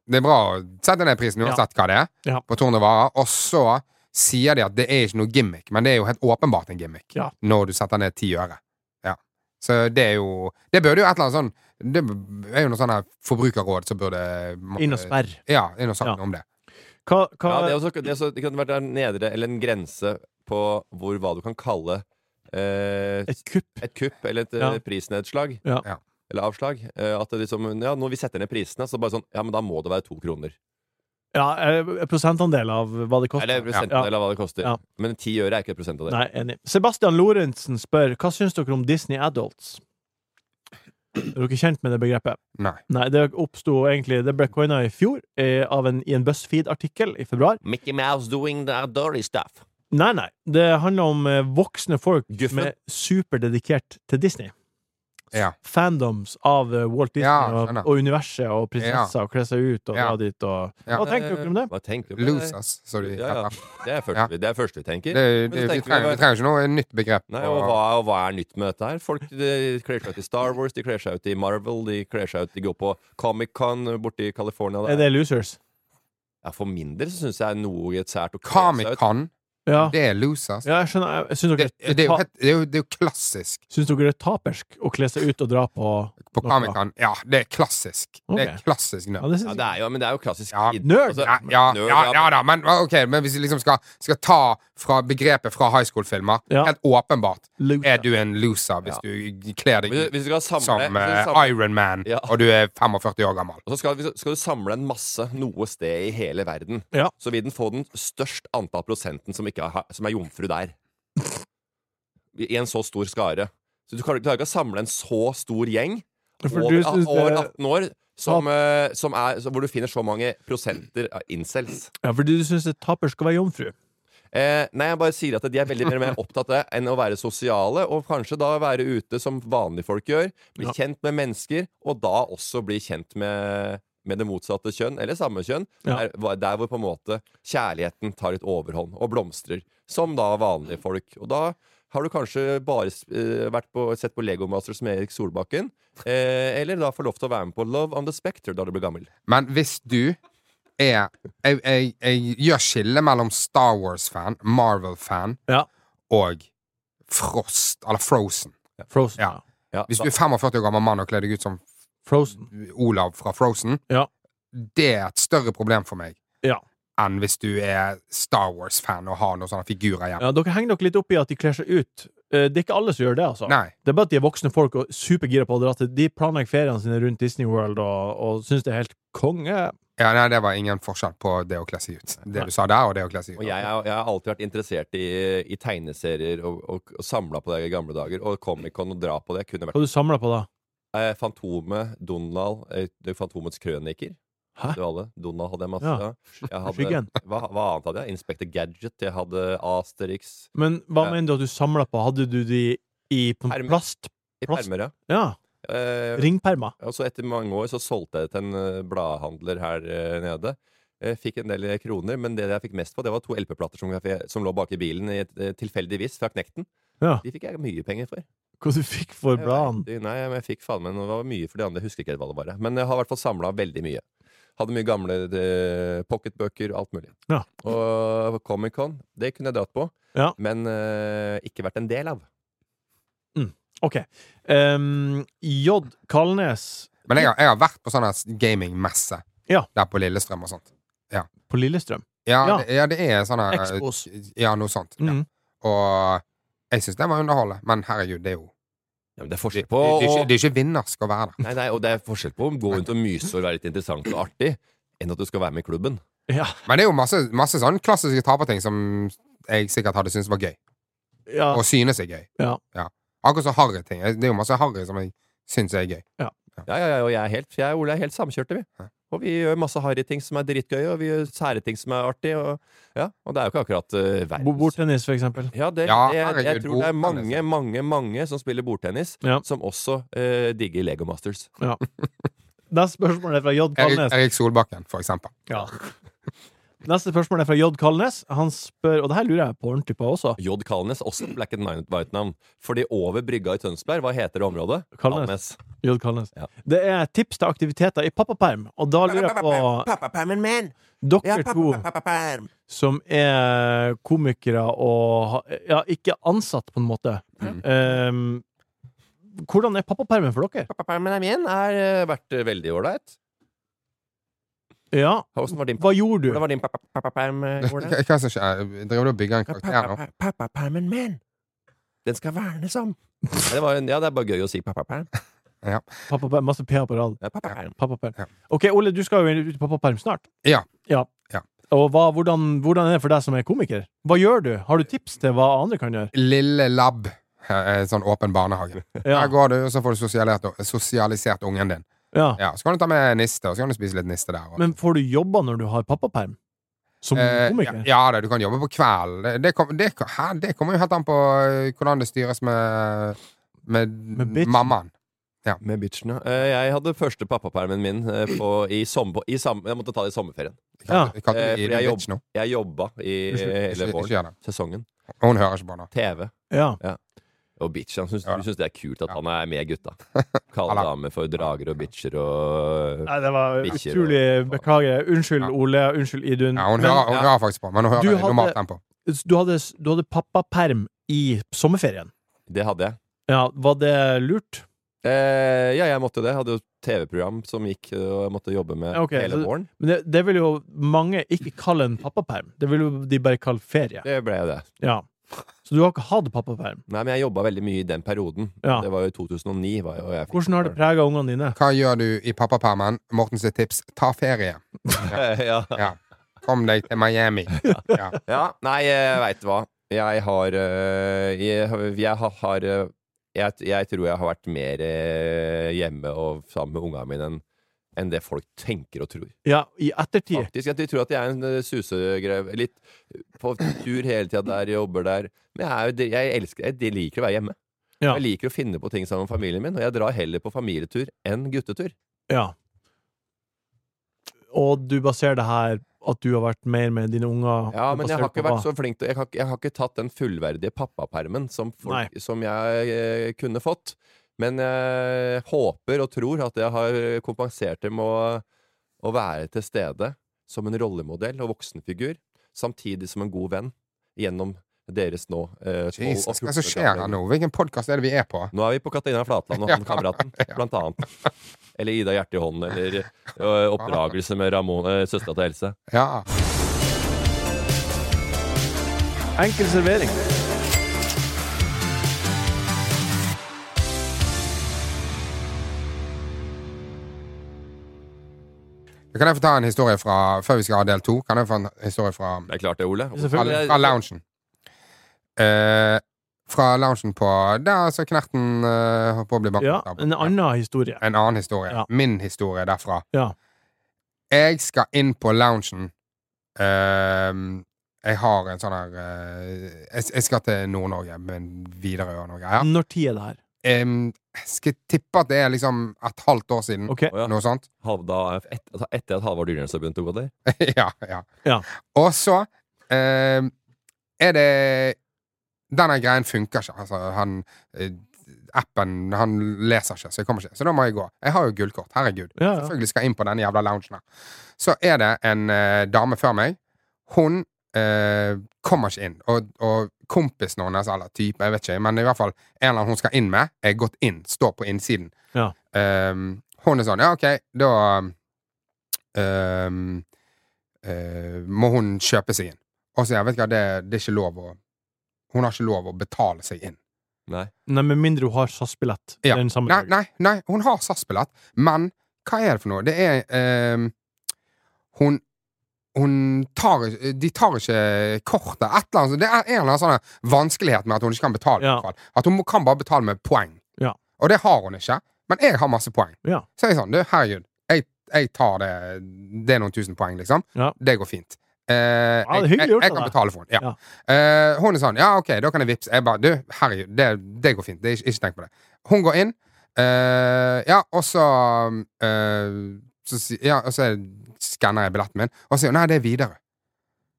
[SPEAKER 4] Det er bra å sette ned prisen uansett hva det er,
[SPEAKER 2] Ja.
[SPEAKER 4] på 200 varer. Og så sier de at det er ikke noe gimmick, men det er jo helt åpenbart en gimmick
[SPEAKER 2] Ja.
[SPEAKER 4] når du setter ned 10 øre. Ja. Så det er jo Det burde jo et eller annet sånn Det er jo noe sånn her forbrukerråd som burde
[SPEAKER 2] Inn og sperr.
[SPEAKER 4] Ja, inn og snakke
[SPEAKER 2] Ja.
[SPEAKER 4] om det.
[SPEAKER 2] Hva, hva
[SPEAKER 3] Ja, det, er også, det, er også, det kan være en nedre eller en grense på hvor, hva du kan kalle eh,
[SPEAKER 2] Et kupp?
[SPEAKER 3] et kupp eller et eh,
[SPEAKER 2] Ja.
[SPEAKER 3] prisnedslag.
[SPEAKER 2] Ja.
[SPEAKER 4] Ja.
[SPEAKER 3] Eller avslag. Eh, at det liksom Ja, når vi setter ned prisene, så bare sånn Ja, men da må det være to kroner.
[SPEAKER 2] Ja, eh, prosentandel av hva det koster.
[SPEAKER 3] Eller prosenten,
[SPEAKER 2] Ja.
[SPEAKER 3] eller hva det koster.
[SPEAKER 2] Ja.
[SPEAKER 3] Men ti øre er ikke et prosent av det.
[SPEAKER 2] Nei, enig. Sebastian Lorentzen spør hva syns dere om Disney Adults? Er dere kjent med det begrepet?
[SPEAKER 4] Nei.
[SPEAKER 2] Nei, det oppsto egentlig Det ble coina i fjor eh, av en, i en BuzzFeed-artikkel i februar.
[SPEAKER 3] Mickey Mouse doing the dirty stuff.
[SPEAKER 2] Nei, nei. Det handler om eh, voksne folk
[SPEAKER 3] Guffen.
[SPEAKER 2] som er superdedikert til Disney. S-
[SPEAKER 4] Ja.
[SPEAKER 2] Fandoms av eh, Walt Disney
[SPEAKER 4] Ja,
[SPEAKER 2] og,
[SPEAKER 4] skjønner.
[SPEAKER 2] og universet og prinsesser og kle seg ut og
[SPEAKER 4] Ja.
[SPEAKER 2] dra dit og
[SPEAKER 4] Ja.
[SPEAKER 2] Hva tenker dere om det?
[SPEAKER 3] Hva tenker du?
[SPEAKER 4] Losers, så de
[SPEAKER 3] Ja, ja.
[SPEAKER 4] heter.
[SPEAKER 3] Det er første,
[SPEAKER 4] Ja.
[SPEAKER 3] vi- det er første vi tenker.
[SPEAKER 4] Det, det,
[SPEAKER 3] Men så
[SPEAKER 4] vi,
[SPEAKER 3] tenker vi
[SPEAKER 4] trenger,
[SPEAKER 3] bare-
[SPEAKER 4] vi trenger ikke noe nytt begrep.
[SPEAKER 3] Nei, og hva, og hva er nytt med dette her? Folk de kler seg ut i Star Wars, de kler seg ut i Marvel, de kler seg ut De går på Comic-Con borte i California.
[SPEAKER 2] Er
[SPEAKER 3] der.
[SPEAKER 2] det losers?
[SPEAKER 3] Ja, for min del så syns jeg noe sært å kle seg ut.
[SPEAKER 4] Comic-Con
[SPEAKER 2] Ja.
[SPEAKER 4] Det er losers.
[SPEAKER 2] Ja, jeg skjønner. Jeg- Jeg syns dere,
[SPEAKER 4] Det, det, er jo, helt- det, er jo, det er jo klassisk
[SPEAKER 2] syns dere det er tapersk å kle seg ut og dra på
[SPEAKER 4] på
[SPEAKER 2] noe?
[SPEAKER 4] Comic-Con. Ja, det er klassisk. Det er
[SPEAKER 2] Ok.
[SPEAKER 4] klassisk
[SPEAKER 2] Ja,
[SPEAKER 4] nerd.
[SPEAKER 2] det syns
[SPEAKER 3] Ja,
[SPEAKER 2] jeg.
[SPEAKER 3] det er jo, men det er jo klassisk
[SPEAKER 4] Ja.
[SPEAKER 3] id-
[SPEAKER 2] Nerd!
[SPEAKER 3] altså,
[SPEAKER 4] Ja, ja,
[SPEAKER 3] nerd,
[SPEAKER 4] ja, ja da, men ok, men hvis vi liksom skal, skal ta fra begrepet fra high school-filmer
[SPEAKER 2] Ja.
[SPEAKER 4] Helt åpenbart
[SPEAKER 2] Loser.
[SPEAKER 4] er du en loser hvis du kler deg
[SPEAKER 3] Hvis du-
[SPEAKER 4] ut
[SPEAKER 3] Hvis du skal samle,
[SPEAKER 4] som
[SPEAKER 3] hvis du
[SPEAKER 4] eh,
[SPEAKER 3] samle
[SPEAKER 4] Iron Man,
[SPEAKER 3] Ja.
[SPEAKER 4] og du er 45 år gammel.
[SPEAKER 3] Og så skal, hvis- skal du samle en masse noe sted i hele verden.
[SPEAKER 2] Ja.
[SPEAKER 3] Så vil den få den størst antall prosenten som, ikke har, som er jomfru der. I en så stor skare. Så du klarer klarer ikke å samle en så stor gjeng
[SPEAKER 2] For
[SPEAKER 3] over,
[SPEAKER 2] du syns
[SPEAKER 3] over
[SPEAKER 2] det-
[SPEAKER 3] 18 år som, eh, som er, så- hvor du finner så mange prosenter av incels.
[SPEAKER 2] Ja, fordi du syns tapersk å være jomfru.
[SPEAKER 3] Eh, nei, jeg bare sier at de er veldig mer, mer opptatt av det enn å være sosiale, og kanskje da være ute som vanlige folk gjør, bli
[SPEAKER 2] Ja.
[SPEAKER 3] kjent med mennesker, og da også bli kjent med, med det motsatte kjønn, eller samme kjønn,
[SPEAKER 2] Ja.
[SPEAKER 3] der, hva- der hvor på en måte kjærligheten tar litt overhånd og blomstrer, som da vanlige folk. Og da har du kanskje bare eh, vært på, sett på Lego Masters med Erik Solbakken, eh, eller da får lov til å være med på Love on the Spectre da du blir gammel.
[SPEAKER 4] Men hvis du er Jeg, jeg, jeg gjør skille mellom Star Wars-fan, Marvel-fan
[SPEAKER 2] Ja.
[SPEAKER 4] og Frost, eller Frozen.
[SPEAKER 2] Frozen.
[SPEAKER 4] Ja.
[SPEAKER 3] Ja,
[SPEAKER 4] Hvis
[SPEAKER 3] da-
[SPEAKER 4] du er 45 år gammel mann og kler deg ut som
[SPEAKER 2] Frozen.
[SPEAKER 4] Olav fra Frozen,
[SPEAKER 2] Ja.
[SPEAKER 4] det er et større problem for meg
[SPEAKER 2] Ja.
[SPEAKER 4] enn hvis du er Star Wars-fan og har noen sånne figurer hjemme.
[SPEAKER 2] ja. Dere henger dere litt opp i at de kler seg ut. Eh, Det er ikke alle som gjør det, altså.
[SPEAKER 4] Nei.
[SPEAKER 2] Det er bare at de er voksne folk og supergira på å dra til De planlegger feriene sine rundt Disney World og, og syns det er helt konge.
[SPEAKER 4] Ja, nei, det var ingen forskjell på det å kle seg ut. Det du sa der, og det å kle seg ut.
[SPEAKER 3] Og jeg, er- jeg har alltid vært interessert i, i tegneserier og, og, og samla på det i gamle dager. Og Comic-Con og dra på det. Jeg kunne vært
[SPEAKER 2] Hva du samler på da?
[SPEAKER 3] eh, Fantomet, Donald, eh, det er Fantomets krøniker.
[SPEAKER 2] Hæ?
[SPEAKER 3] Det var alle. Donald hadde jeg masse
[SPEAKER 2] Ja.
[SPEAKER 3] av. Jeg hadde,
[SPEAKER 2] Skyggen.
[SPEAKER 3] hva, hva annet hadde jeg? Inspector Gadget. Jeg hadde Asterix.
[SPEAKER 2] Men hva
[SPEAKER 3] Ja.
[SPEAKER 2] mener du at du samla på? Hadde du de i på
[SPEAKER 3] Perm.
[SPEAKER 2] plast?
[SPEAKER 3] I
[SPEAKER 2] Plast.
[SPEAKER 3] permer, ja.
[SPEAKER 2] Ja.
[SPEAKER 3] Eh,
[SPEAKER 2] Ringpermer.
[SPEAKER 3] Og så etter mange år så solgte jeg det til en eh, bladhandler her eh, nede. Jeg fikk en del eh, kroner, men det jeg fikk mest på, det var to LP-plater som, jeg- som lå bak i bilen i, et- eh, tilfeldigvis fra Knekten.
[SPEAKER 2] Ja.
[SPEAKER 3] De fikk jeg mye penger for.
[SPEAKER 2] Hva du fikk for
[SPEAKER 3] Jeg
[SPEAKER 2] bladene?
[SPEAKER 3] vet ikke, Nei, men jeg fikk faen meg noe. Det var mye for de andre. Jeg husker ikke helt hva det var. jeg. Men jeg har i hvert fall samla veldig mye. Hadde mye gamle eh, pocketbøker og alt mulig.
[SPEAKER 2] Ja.
[SPEAKER 3] Og Comic-Con, det kunne jeg dratt på,
[SPEAKER 2] Ja.
[SPEAKER 3] men eh, ikke vært en del av.
[SPEAKER 2] OK. Um, J. Kalnes
[SPEAKER 4] Men jeg har, jeg har vært på sånne gamingmesse
[SPEAKER 2] Ja.
[SPEAKER 4] der på Lillestrøm og sånt.
[SPEAKER 2] på Lillestrøm.
[SPEAKER 4] Ja,
[SPEAKER 2] Ja.
[SPEAKER 4] Det, ja det er sånne
[SPEAKER 3] Eh,
[SPEAKER 2] Expos.
[SPEAKER 4] Ja, noe sånt. Ja.
[SPEAKER 2] Mm.
[SPEAKER 4] Og jeg syns det var underholdende, men herregud, det er jo
[SPEAKER 3] Ja, men det er
[SPEAKER 4] Det,
[SPEAKER 3] forskjell
[SPEAKER 4] det,
[SPEAKER 3] på
[SPEAKER 4] det, er
[SPEAKER 3] å
[SPEAKER 4] ikke- det er ikke vinnersk å være der.
[SPEAKER 3] Nei, nei, og det er forskjell på å gå rundt og myse og være litt interessant og artig, enn at du skal være med i klubben.
[SPEAKER 2] Ja.
[SPEAKER 4] Men det er jo masse, masse sånne klassiske taperting som jeg sikkert hadde syntes var gøy.
[SPEAKER 2] ja.
[SPEAKER 4] Og synes er gøy.
[SPEAKER 2] Ja.
[SPEAKER 4] Akkurat som harryting. Det er jo masse harry som jeg syns er gøy.
[SPEAKER 3] Ja, ja, ja, og jeg er helt, jeg og Ole er helt samkjørte, vi.
[SPEAKER 4] Ja.
[SPEAKER 3] Og vi gjør masse harryting som er dritgøy, og vi gjør sære ting som er artig, og, ja, og det er jo ikke akkurat uh,
[SPEAKER 2] Bo-
[SPEAKER 3] verdens
[SPEAKER 2] Bordtennis, for eksempel.
[SPEAKER 3] Ja, det,
[SPEAKER 4] Ja,
[SPEAKER 3] det- jeg, jeg
[SPEAKER 4] herregud,
[SPEAKER 3] tror det er
[SPEAKER 4] bordtennis, ja.
[SPEAKER 3] mange, mange, mange som spiller bordtennis,
[SPEAKER 2] Ja.
[SPEAKER 3] som også eh, digger Lego Masters.
[SPEAKER 2] Neste spørsmål er fra J.
[SPEAKER 4] Erik,
[SPEAKER 2] Kalnes.
[SPEAKER 4] Erik Solbakken, for eksempel.
[SPEAKER 2] Ja. Neste spørsmål er fra J. Kalnes. Han spør, og det her lurer jeg på ordentlig på også.
[SPEAKER 3] J. Kalnes, også et Black and White-navn. Fordi over brygga i Tønsberg, hva heter det området?
[SPEAKER 2] Kalnes. J. Kalnes.
[SPEAKER 3] Ja.
[SPEAKER 2] Det er tips til aktiviteter i pappaperm, og da lurer jeg på
[SPEAKER 3] Pappapermen min!
[SPEAKER 2] dere to som er komikere og ha- ja, ikke ansatt, på en måte. Ehm, hvordan er pappapermen for dere?
[SPEAKER 3] Pappapermen er min. Har eh, vært eh, veldig ålreit.
[SPEAKER 2] Ja,
[SPEAKER 3] Hvordan var din
[SPEAKER 2] hva gjorde
[SPEAKER 3] Hvordan
[SPEAKER 2] du?
[SPEAKER 3] var din pappa- pappaperm? eh,
[SPEAKER 4] Hva,
[SPEAKER 3] Hvordan?
[SPEAKER 4] hva som skjer? Driver du og bygger en karakter nå?
[SPEAKER 3] Pappa- Pappapermen min! Den skal vernes om! Ja, det, var, en- ja, det er bare gøy å si pappaperm.
[SPEAKER 2] Pappaperm, masse P-er på rad.
[SPEAKER 3] Ja, pappaperm.
[SPEAKER 2] Pappaperm.
[SPEAKER 4] Ja.
[SPEAKER 2] Ok, Ole, du skal jo ut i pappaperm snart.
[SPEAKER 4] Ja.
[SPEAKER 2] ja.
[SPEAKER 4] Ja.
[SPEAKER 2] Og hva, hvordan, hvordan er det for deg som er komiker? Hva gjør du? Har du tips til hva andre kan gjøre?
[SPEAKER 4] Lille Lab. eh, Sånn åpen barnehage.
[SPEAKER 2] Ja,
[SPEAKER 4] Der går du, og så får du sosialisert, sosialisert ungen din.
[SPEAKER 2] ja.
[SPEAKER 4] Ja, Så kan du ta med niste, og så kan du spise litt niste der. Og,
[SPEAKER 2] Men får du jobba når du har pappaperm? Som
[SPEAKER 4] Eh,
[SPEAKER 2] komiker?
[SPEAKER 4] ja, ja da, du kan jobbe på kvelden. Det, det, kom- det, kom- hæ? det kommer jo helt an på eh, hvordan det styres med, med,
[SPEAKER 2] bitchen.
[SPEAKER 4] mammaen.
[SPEAKER 3] Med bitchen, ja. Eh, Jeg hadde første pappapermen min eh, på, i sommer, i sam, Jeg måtte ta det i sommerferien.
[SPEAKER 2] Ja.
[SPEAKER 4] Kalte- kalte
[SPEAKER 3] Eh,
[SPEAKER 4] du-
[SPEAKER 3] for
[SPEAKER 4] du
[SPEAKER 3] jeg
[SPEAKER 4] bitch nå?
[SPEAKER 3] Jeg jobba i
[SPEAKER 2] Unnskyld,
[SPEAKER 3] eh,
[SPEAKER 4] Ikke,
[SPEAKER 3] hele
[SPEAKER 4] ikke
[SPEAKER 3] våren.
[SPEAKER 4] gjør det.
[SPEAKER 3] Sesongen.
[SPEAKER 4] Hun hører ikke på nå.
[SPEAKER 3] TV.
[SPEAKER 2] Ja.
[SPEAKER 3] Og bitch. Han syns,
[SPEAKER 4] Ja.
[SPEAKER 3] du syns det er kult at
[SPEAKER 4] Ja.
[SPEAKER 3] han er med gutta. Kalle
[SPEAKER 4] Alla.
[SPEAKER 3] damer for drager og bitcher og
[SPEAKER 2] Nei, det var
[SPEAKER 3] Bikkjer
[SPEAKER 2] utrolig
[SPEAKER 3] og-
[SPEAKER 2] Beklager. Unnskyld,
[SPEAKER 4] Ja.
[SPEAKER 2] Ole. Unnskyld, Idun.
[SPEAKER 4] Ja, hun
[SPEAKER 2] Mm. Men
[SPEAKER 4] hører, hun
[SPEAKER 3] ja.
[SPEAKER 4] hører faktisk på, men hun hører
[SPEAKER 2] Du
[SPEAKER 4] i normalt
[SPEAKER 2] hadde-
[SPEAKER 4] tempo.
[SPEAKER 2] Du hadde, du hadde pappaperm i sommerferien.
[SPEAKER 3] Det hadde jeg.
[SPEAKER 2] Ja, var det lurt?
[SPEAKER 3] Eh, ja, jeg måtte det. Jeg hadde jo TV-program som gikk, eh, og jeg måtte jobbe med
[SPEAKER 2] Ja, ok,
[SPEAKER 3] hele
[SPEAKER 2] så-
[SPEAKER 3] våren.
[SPEAKER 2] Men det, det vil jo mange ikke kalle en pappaperm. Det vil jo de bare kalle ferie.
[SPEAKER 3] Det ble jo det.
[SPEAKER 2] Ja. Så du har ikke hatt pappaperm.
[SPEAKER 3] Nei, men jeg jobba veldig mye i den perioden.
[SPEAKER 2] Ja.
[SPEAKER 3] Det var jo i 2009. Var jo jeg fikk
[SPEAKER 2] Hvordan har det prega ungene dine?
[SPEAKER 4] Hva gjør du i pappapermen? Mortens tips ta ferie.
[SPEAKER 3] barn. ja.
[SPEAKER 4] Ja. Kom deg til Miami. Ja.
[SPEAKER 3] ja. Nei, jeg veit hva. Jeg har eh, Jeg, har- jeg har- har eh, jeg, jeg tror jeg har vært mer eh, hjemme og sammen med ungene mine enn enn det folk tenker og tror.
[SPEAKER 2] Ja, i ettertid.
[SPEAKER 3] Faktisk, at De tror at jeg er en eh, susegrev. Litt på tur hele tida der, jobber der. Men jeg, er jo, jeg, elsker, jeg liker å være hjemme.
[SPEAKER 2] Ja.
[SPEAKER 3] Jeg liker å finne på ting sammen med familien min, og jeg drar heller på familietur enn guttetur.
[SPEAKER 2] Ja. Og du baserer det her at du har vært mer med dine unger?
[SPEAKER 3] Ja, men jeg har
[SPEAKER 2] basert
[SPEAKER 3] ikke
[SPEAKER 2] på hva?
[SPEAKER 3] vært så flink til jeg har, ikke- jeg har ikke tatt den fullverdige pappapermen som, folk, som jeg eh, kunne fått. Men jeg håper og tror at jeg har kompensert det med å, å være til stede som en rollemodell og voksenfigur, samtidig som en god venn gjennom deres nå eh, 12
[SPEAKER 4] Jesus,
[SPEAKER 3] og
[SPEAKER 4] hva er det som
[SPEAKER 3] 14
[SPEAKER 4] skjer her nå? Hvilken podkast er det vi er på?
[SPEAKER 3] Nå er vi på Katarina Flatland og han kameraten, blant annet. Eller Ida Hjerte i hånden, eller eh, oppdragelse med Ramon, eh, søstera til Else.
[SPEAKER 4] Ja.
[SPEAKER 2] Enkel servering.
[SPEAKER 4] Kan jeg få ta en historie fra før vi skal ha del to? Kan jeg få en historie fra,
[SPEAKER 3] Det er klart det, Ole.
[SPEAKER 4] fra,
[SPEAKER 2] Selvfølgelig.
[SPEAKER 4] fra loungen? Eh, fra loungen på Der altså knerten eh, holdt på å bli banket
[SPEAKER 2] Ja,
[SPEAKER 4] av.
[SPEAKER 2] en annen historie.
[SPEAKER 4] En annen historie.
[SPEAKER 2] Ja.
[SPEAKER 4] Min historie derfra.
[SPEAKER 2] Ja.
[SPEAKER 4] Jeg skal inn på loungen. Ehm, jeg har en sånn her eh, jeg, jeg skal til Nord-Norge, men videre Nord-Norge. Ja.
[SPEAKER 2] Når tid er det her?
[SPEAKER 4] Ehm, jeg skal tippe at det er liksom et halvt år siden.
[SPEAKER 2] Ok.
[SPEAKER 3] Å, ja.
[SPEAKER 4] Noe sånt.
[SPEAKER 3] Hav- da, et, altså etter at Halvard Dyrnes har begynt å gå der?
[SPEAKER 4] ja, ja.
[SPEAKER 2] Ja.
[SPEAKER 4] Og så ehm, er det Denne greien funker ikke. Altså, han eh, Appen han leser ikke, så jeg kommer ikke. Så da må jeg gå. Jeg har jo gullkort. Herregud.
[SPEAKER 2] Ja, ja.
[SPEAKER 4] selvfølgelig skal inn på denne jævla loungen her. Så er det en eh, dame før meg. Hun eh, kommer ikke inn. Og, og kompisen hennes, eller type, jeg vet ikke, men i hvert fall en eller annen hun skal inn med, er gått inn. Står på innsiden.
[SPEAKER 2] Ja.
[SPEAKER 4] Ehm, hun er sånn, ja, ok, da ehm, eh, må hun kjøpe seg inn. Og så, jeg vet ikke, hva, det, det er ikke lov å Hun har ikke lov å betale seg inn.
[SPEAKER 3] Nei.
[SPEAKER 2] Nei, med mindre hun har SAS-billett.
[SPEAKER 4] Ja.
[SPEAKER 2] Den samme
[SPEAKER 4] Nei,
[SPEAKER 2] dagen.
[SPEAKER 4] nei, nei, hun har SAS-billett, men hva er det for noe? Det er ehm, Hun hun tar, ikke- de tar ikke kortet. Et eller annet, sånt. det er en eller annen sånn vanskelighet med at hun ikke kan betale. i
[SPEAKER 2] Ja.
[SPEAKER 4] hvert fall. At hun må- kan bare betale med poeng.
[SPEAKER 2] Ja.
[SPEAKER 4] Og det har hun ikke. Men jeg har masse poeng.
[SPEAKER 2] Ja.
[SPEAKER 4] Så jeg er sånn, du, herregud, jeg, jeg tar det Det er noen tusen poeng, liksom.
[SPEAKER 2] Ja.
[SPEAKER 4] Det går fint. Eh,
[SPEAKER 2] er
[SPEAKER 4] jeg,
[SPEAKER 2] hyggelig
[SPEAKER 4] jeg,
[SPEAKER 2] gjort
[SPEAKER 4] jeg
[SPEAKER 2] av
[SPEAKER 4] kan
[SPEAKER 2] deg.
[SPEAKER 4] betale for den. Ja. Eh, hun er sånn, ja, ok, da kan jeg vippse. Jeg bare, du, herregud, det, det går fint. Det, er ikke, ikke tenk på det. Hun går inn, eh, ja, og så, eh, så si- ja, og så skanner jeg billetten min, og så sier hun, nei, det er videre.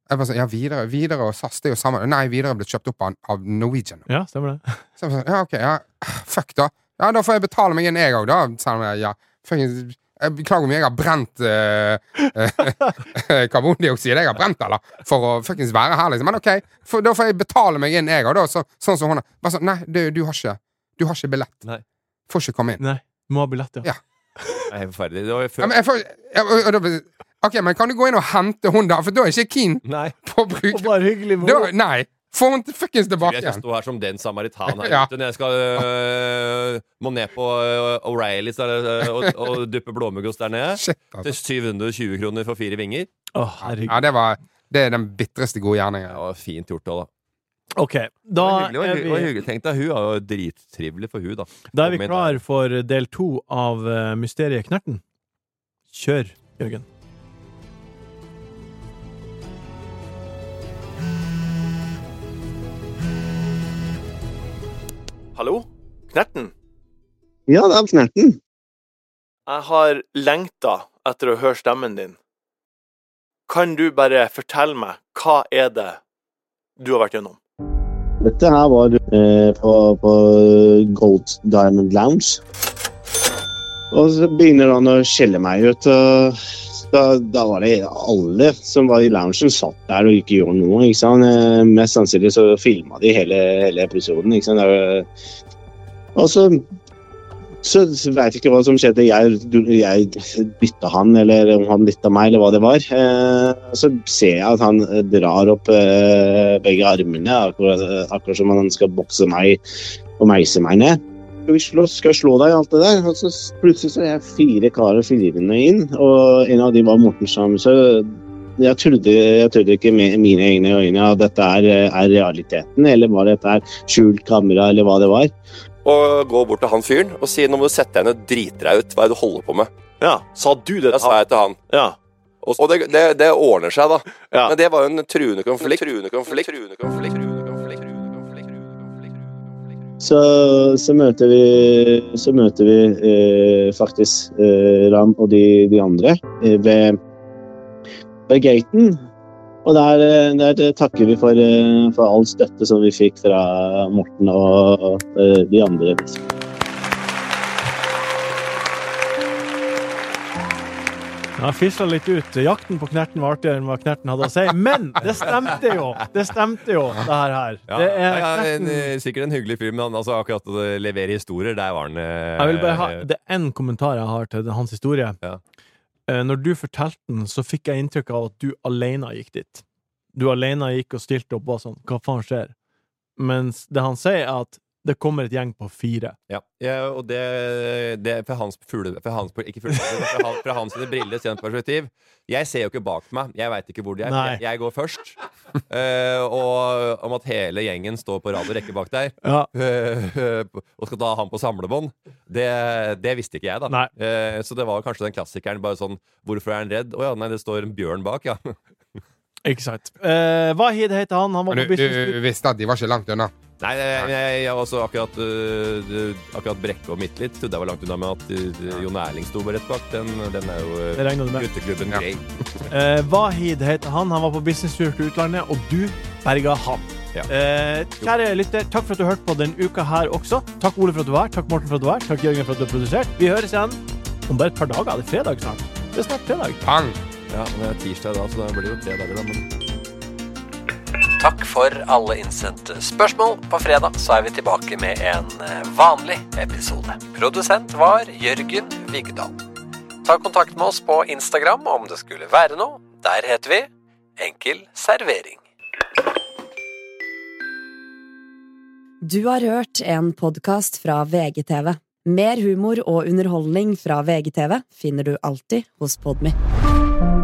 [SPEAKER 4] Jeg bare sånn, ja, videre, videre og SAS, det er jo samme. Nei, videre ble kjøpt opp av, av Norwegian.
[SPEAKER 2] Ja, stemmer det.
[SPEAKER 4] Så jeg bare sånn, ja, ok, ja, fuck da. Ja, da får jeg betale meg inn jeg òg, da. Selv om jeg, ja, fucking- jeg beklager om jeg har brent eh, eh, karbondioksid. Jeg har brent, eller? For å fuckings være her, liksom. Men ok, for, da får jeg betale meg inn jeg òg, da. Så, sånn som hun er. Bare sånn, nei, du, du har ikke Du har ikke billett.
[SPEAKER 3] Nei.
[SPEAKER 4] Får ikke komme inn.
[SPEAKER 2] Nei. Du må ha billett, ja.
[SPEAKER 4] Ja.
[SPEAKER 3] Det er helt forferdelig. Det var jo
[SPEAKER 4] Ja,
[SPEAKER 3] før
[SPEAKER 4] men jeg får, ja, og, og, da blir- ok, men kan du gå inn og hente hun, da? For da er jeg ikke keen
[SPEAKER 3] Nei.
[SPEAKER 4] på å bruke
[SPEAKER 2] Og bare hyggelig med
[SPEAKER 4] da,
[SPEAKER 2] henne.
[SPEAKER 4] Nei! Få hun fuckings tilbake
[SPEAKER 3] Jeg skal
[SPEAKER 4] igjen.
[SPEAKER 3] stå her som den samaritan her
[SPEAKER 4] Ja.
[SPEAKER 3] ute når jeg skal øh, må ned på øh, O'Reillys øh, og, og duppe blåmuggost der nede.
[SPEAKER 4] Shit, altså.
[SPEAKER 3] Til 720 kroner for fire vinger.
[SPEAKER 2] Å, herregud.
[SPEAKER 4] Ja, det var Det er den bitreste gode gjerningen.
[SPEAKER 3] Det var fint gjort òg, da.
[SPEAKER 2] Ok, da
[SPEAKER 3] Det var hyggelig,
[SPEAKER 2] er
[SPEAKER 3] det var
[SPEAKER 2] vi
[SPEAKER 3] hyggelig. Tenk deg, hun er jo drittrivelig for hun, da.
[SPEAKER 2] Da er vi
[SPEAKER 3] Kom hit,
[SPEAKER 2] klar for del to av eh, Mysteriet Knerten. Kjør, Jørgen.
[SPEAKER 10] Hallo? Knerten?
[SPEAKER 11] Ja, det er Knerten.
[SPEAKER 10] Jeg har lengta etter å høre stemmen din. Kan du bare fortelle meg hva er det du har vært gjennom?
[SPEAKER 11] Dette her var eh, på, på Gold Diamond Lounge. Og så begynner han å skjelle meg ut og da, da var det alle som var i loungen, satt der og ikke gjorde noe. ikke sant? Eh, Mest sannsynlig så filma de hele, hele episoden. ikke sant? Det var- Og så så veit jeg ikke hva som skjedde. Jeg, du- jeg dytta han, eller om han dytta meg, eller hva det var. Eh, Så ser jeg at han eh, drar opp eh, begge armene, akkurat, eh, akkurat som han skal bokse meg og meise meg ned. Skal vi slå, skal jeg slå deg og alt det der? Og så s- plutselig så er jeg fire karer flyvende inn, og en av de var Morten Sam. Så jeg trodde, jeg trodde ikke med mine egne øyne at dette er, eh, er realiteten, eller var dette er skjult kamera, eller hva det var.
[SPEAKER 12] Og gå bort til han fyren og si nå må du sette deg ned og drite deg ut. Hva er det du holder på med?
[SPEAKER 10] Ja, Sa du det
[SPEAKER 12] Det sa jeg til han. Og, og det, det, det ordner seg, da. Men det var jo en truende konflikt. Truende konflikt. Truende konflikt. Truende konflikt.
[SPEAKER 11] Så, så møter vi, så møter vi eh, faktisk eh, Ram og de, de andre eh, ved, ved gaten. Og der, eh, der takker vi for, eh, for all støtte som vi fikk fra Morten og, og eh, de andre.
[SPEAKER 2] Jeg fisla litt ut. Jakten på Knerten var artigere enn hva Knerten hadde å si. Men det stemte jo! Det stemte jo, det her. her.
[SPEAKER 3] Ja,
[SPEAKER 2] Det er
[SPEAKER 3] ja, ja, en,
[SPEAKER 2] Knerten.
[SPEAKER 3] eh, sikkert en hyggelig fyr, men han, altså, akkurat å levere historier, der var han eh,
[SPEAKER 2] Jeg vil bare ha, det er én kommentar jeg har til den- hans historie. Eh, Når du fortalte den, så fikk jeg inntrykk av at du alene gikk dit. Du alene gikk og stilte opp og var sånn 'hva faen skjer?' Mens det han sier, er at det kommer et gjeng på fire.
[SPEAKER 3] Ja, ja og det, det er fra hans fugle... Fra hans, ikke fugle, fra, han- fra hans sine briller sent perspektiv. Jeg ser jo ikke bak meg. Jeg veit ikke hvor de er.
[SPEAKER 2] Nei.
[SPEAKER 3] Jeg, jeg går først. Eh, og om at hele gjengen står på rad og rekke bak der
[SPEAKER 2] Ja.
[SPEAKER 3] eh, og skal ta han på samlebånd, det, det visste ikke jeg, da. Eh, så det var kanskje den klassikeren. Bare sånn Hvorfor er han redd? Å ja, nei, det står en bjørn bak, ja.
[SPEAKER 2] Ikke sant. Eh, Wahid heter han. Han var
[SPEAKER 3] Men
[SPEAKER 2] på
[SPEAKER 3] du- du-
[SPEAKER 2] business
[SPEAKER 4] Du visste at de var ikke langt unna.
[SPEAKER 3] Nei, jeg, jeg, jeg også akkurat, øh, øh, akkurat Brekke og Midtlitt trodde jeg var langt unna med at øh, Jon Erling sto bare rett bak. Den, den er jo øh,
[SPEAKER 2] Det regner du med.
[SPEAKER 3] gutteklubben Grey.
[SPEAKER 2] Eh, Wahid heter han. Han var på businesstur til utlandet, og du berga han. Eh, kjære lytter, takk for at du hørte på denne uka her også. Takk Ole for at du var her. Takk Morten for at du var her. Takk Jørgen for at du har produsert. Vi høres igjen om bare et par dager. Det er fredag snart. Det er snart fredag.
[SPEAKER 3] Ja, men det er tirsdag da, så det blir jo tre dager, da. Men
[SPEAKER 6] Takk for alle innsendte spørsmål. På fredag så er vi tilbake med en eh, vanlig episode. Produsent var Jørgen Vigdal. Ta kontakt med oss på Instagram om det skulle være noe. Der heter vi Enkel servering.
[SPEAKER 1] Du har hørt en podkast fra VGTV. Mer humor og underholdning fra VGTV finner du alltid hos Podmy.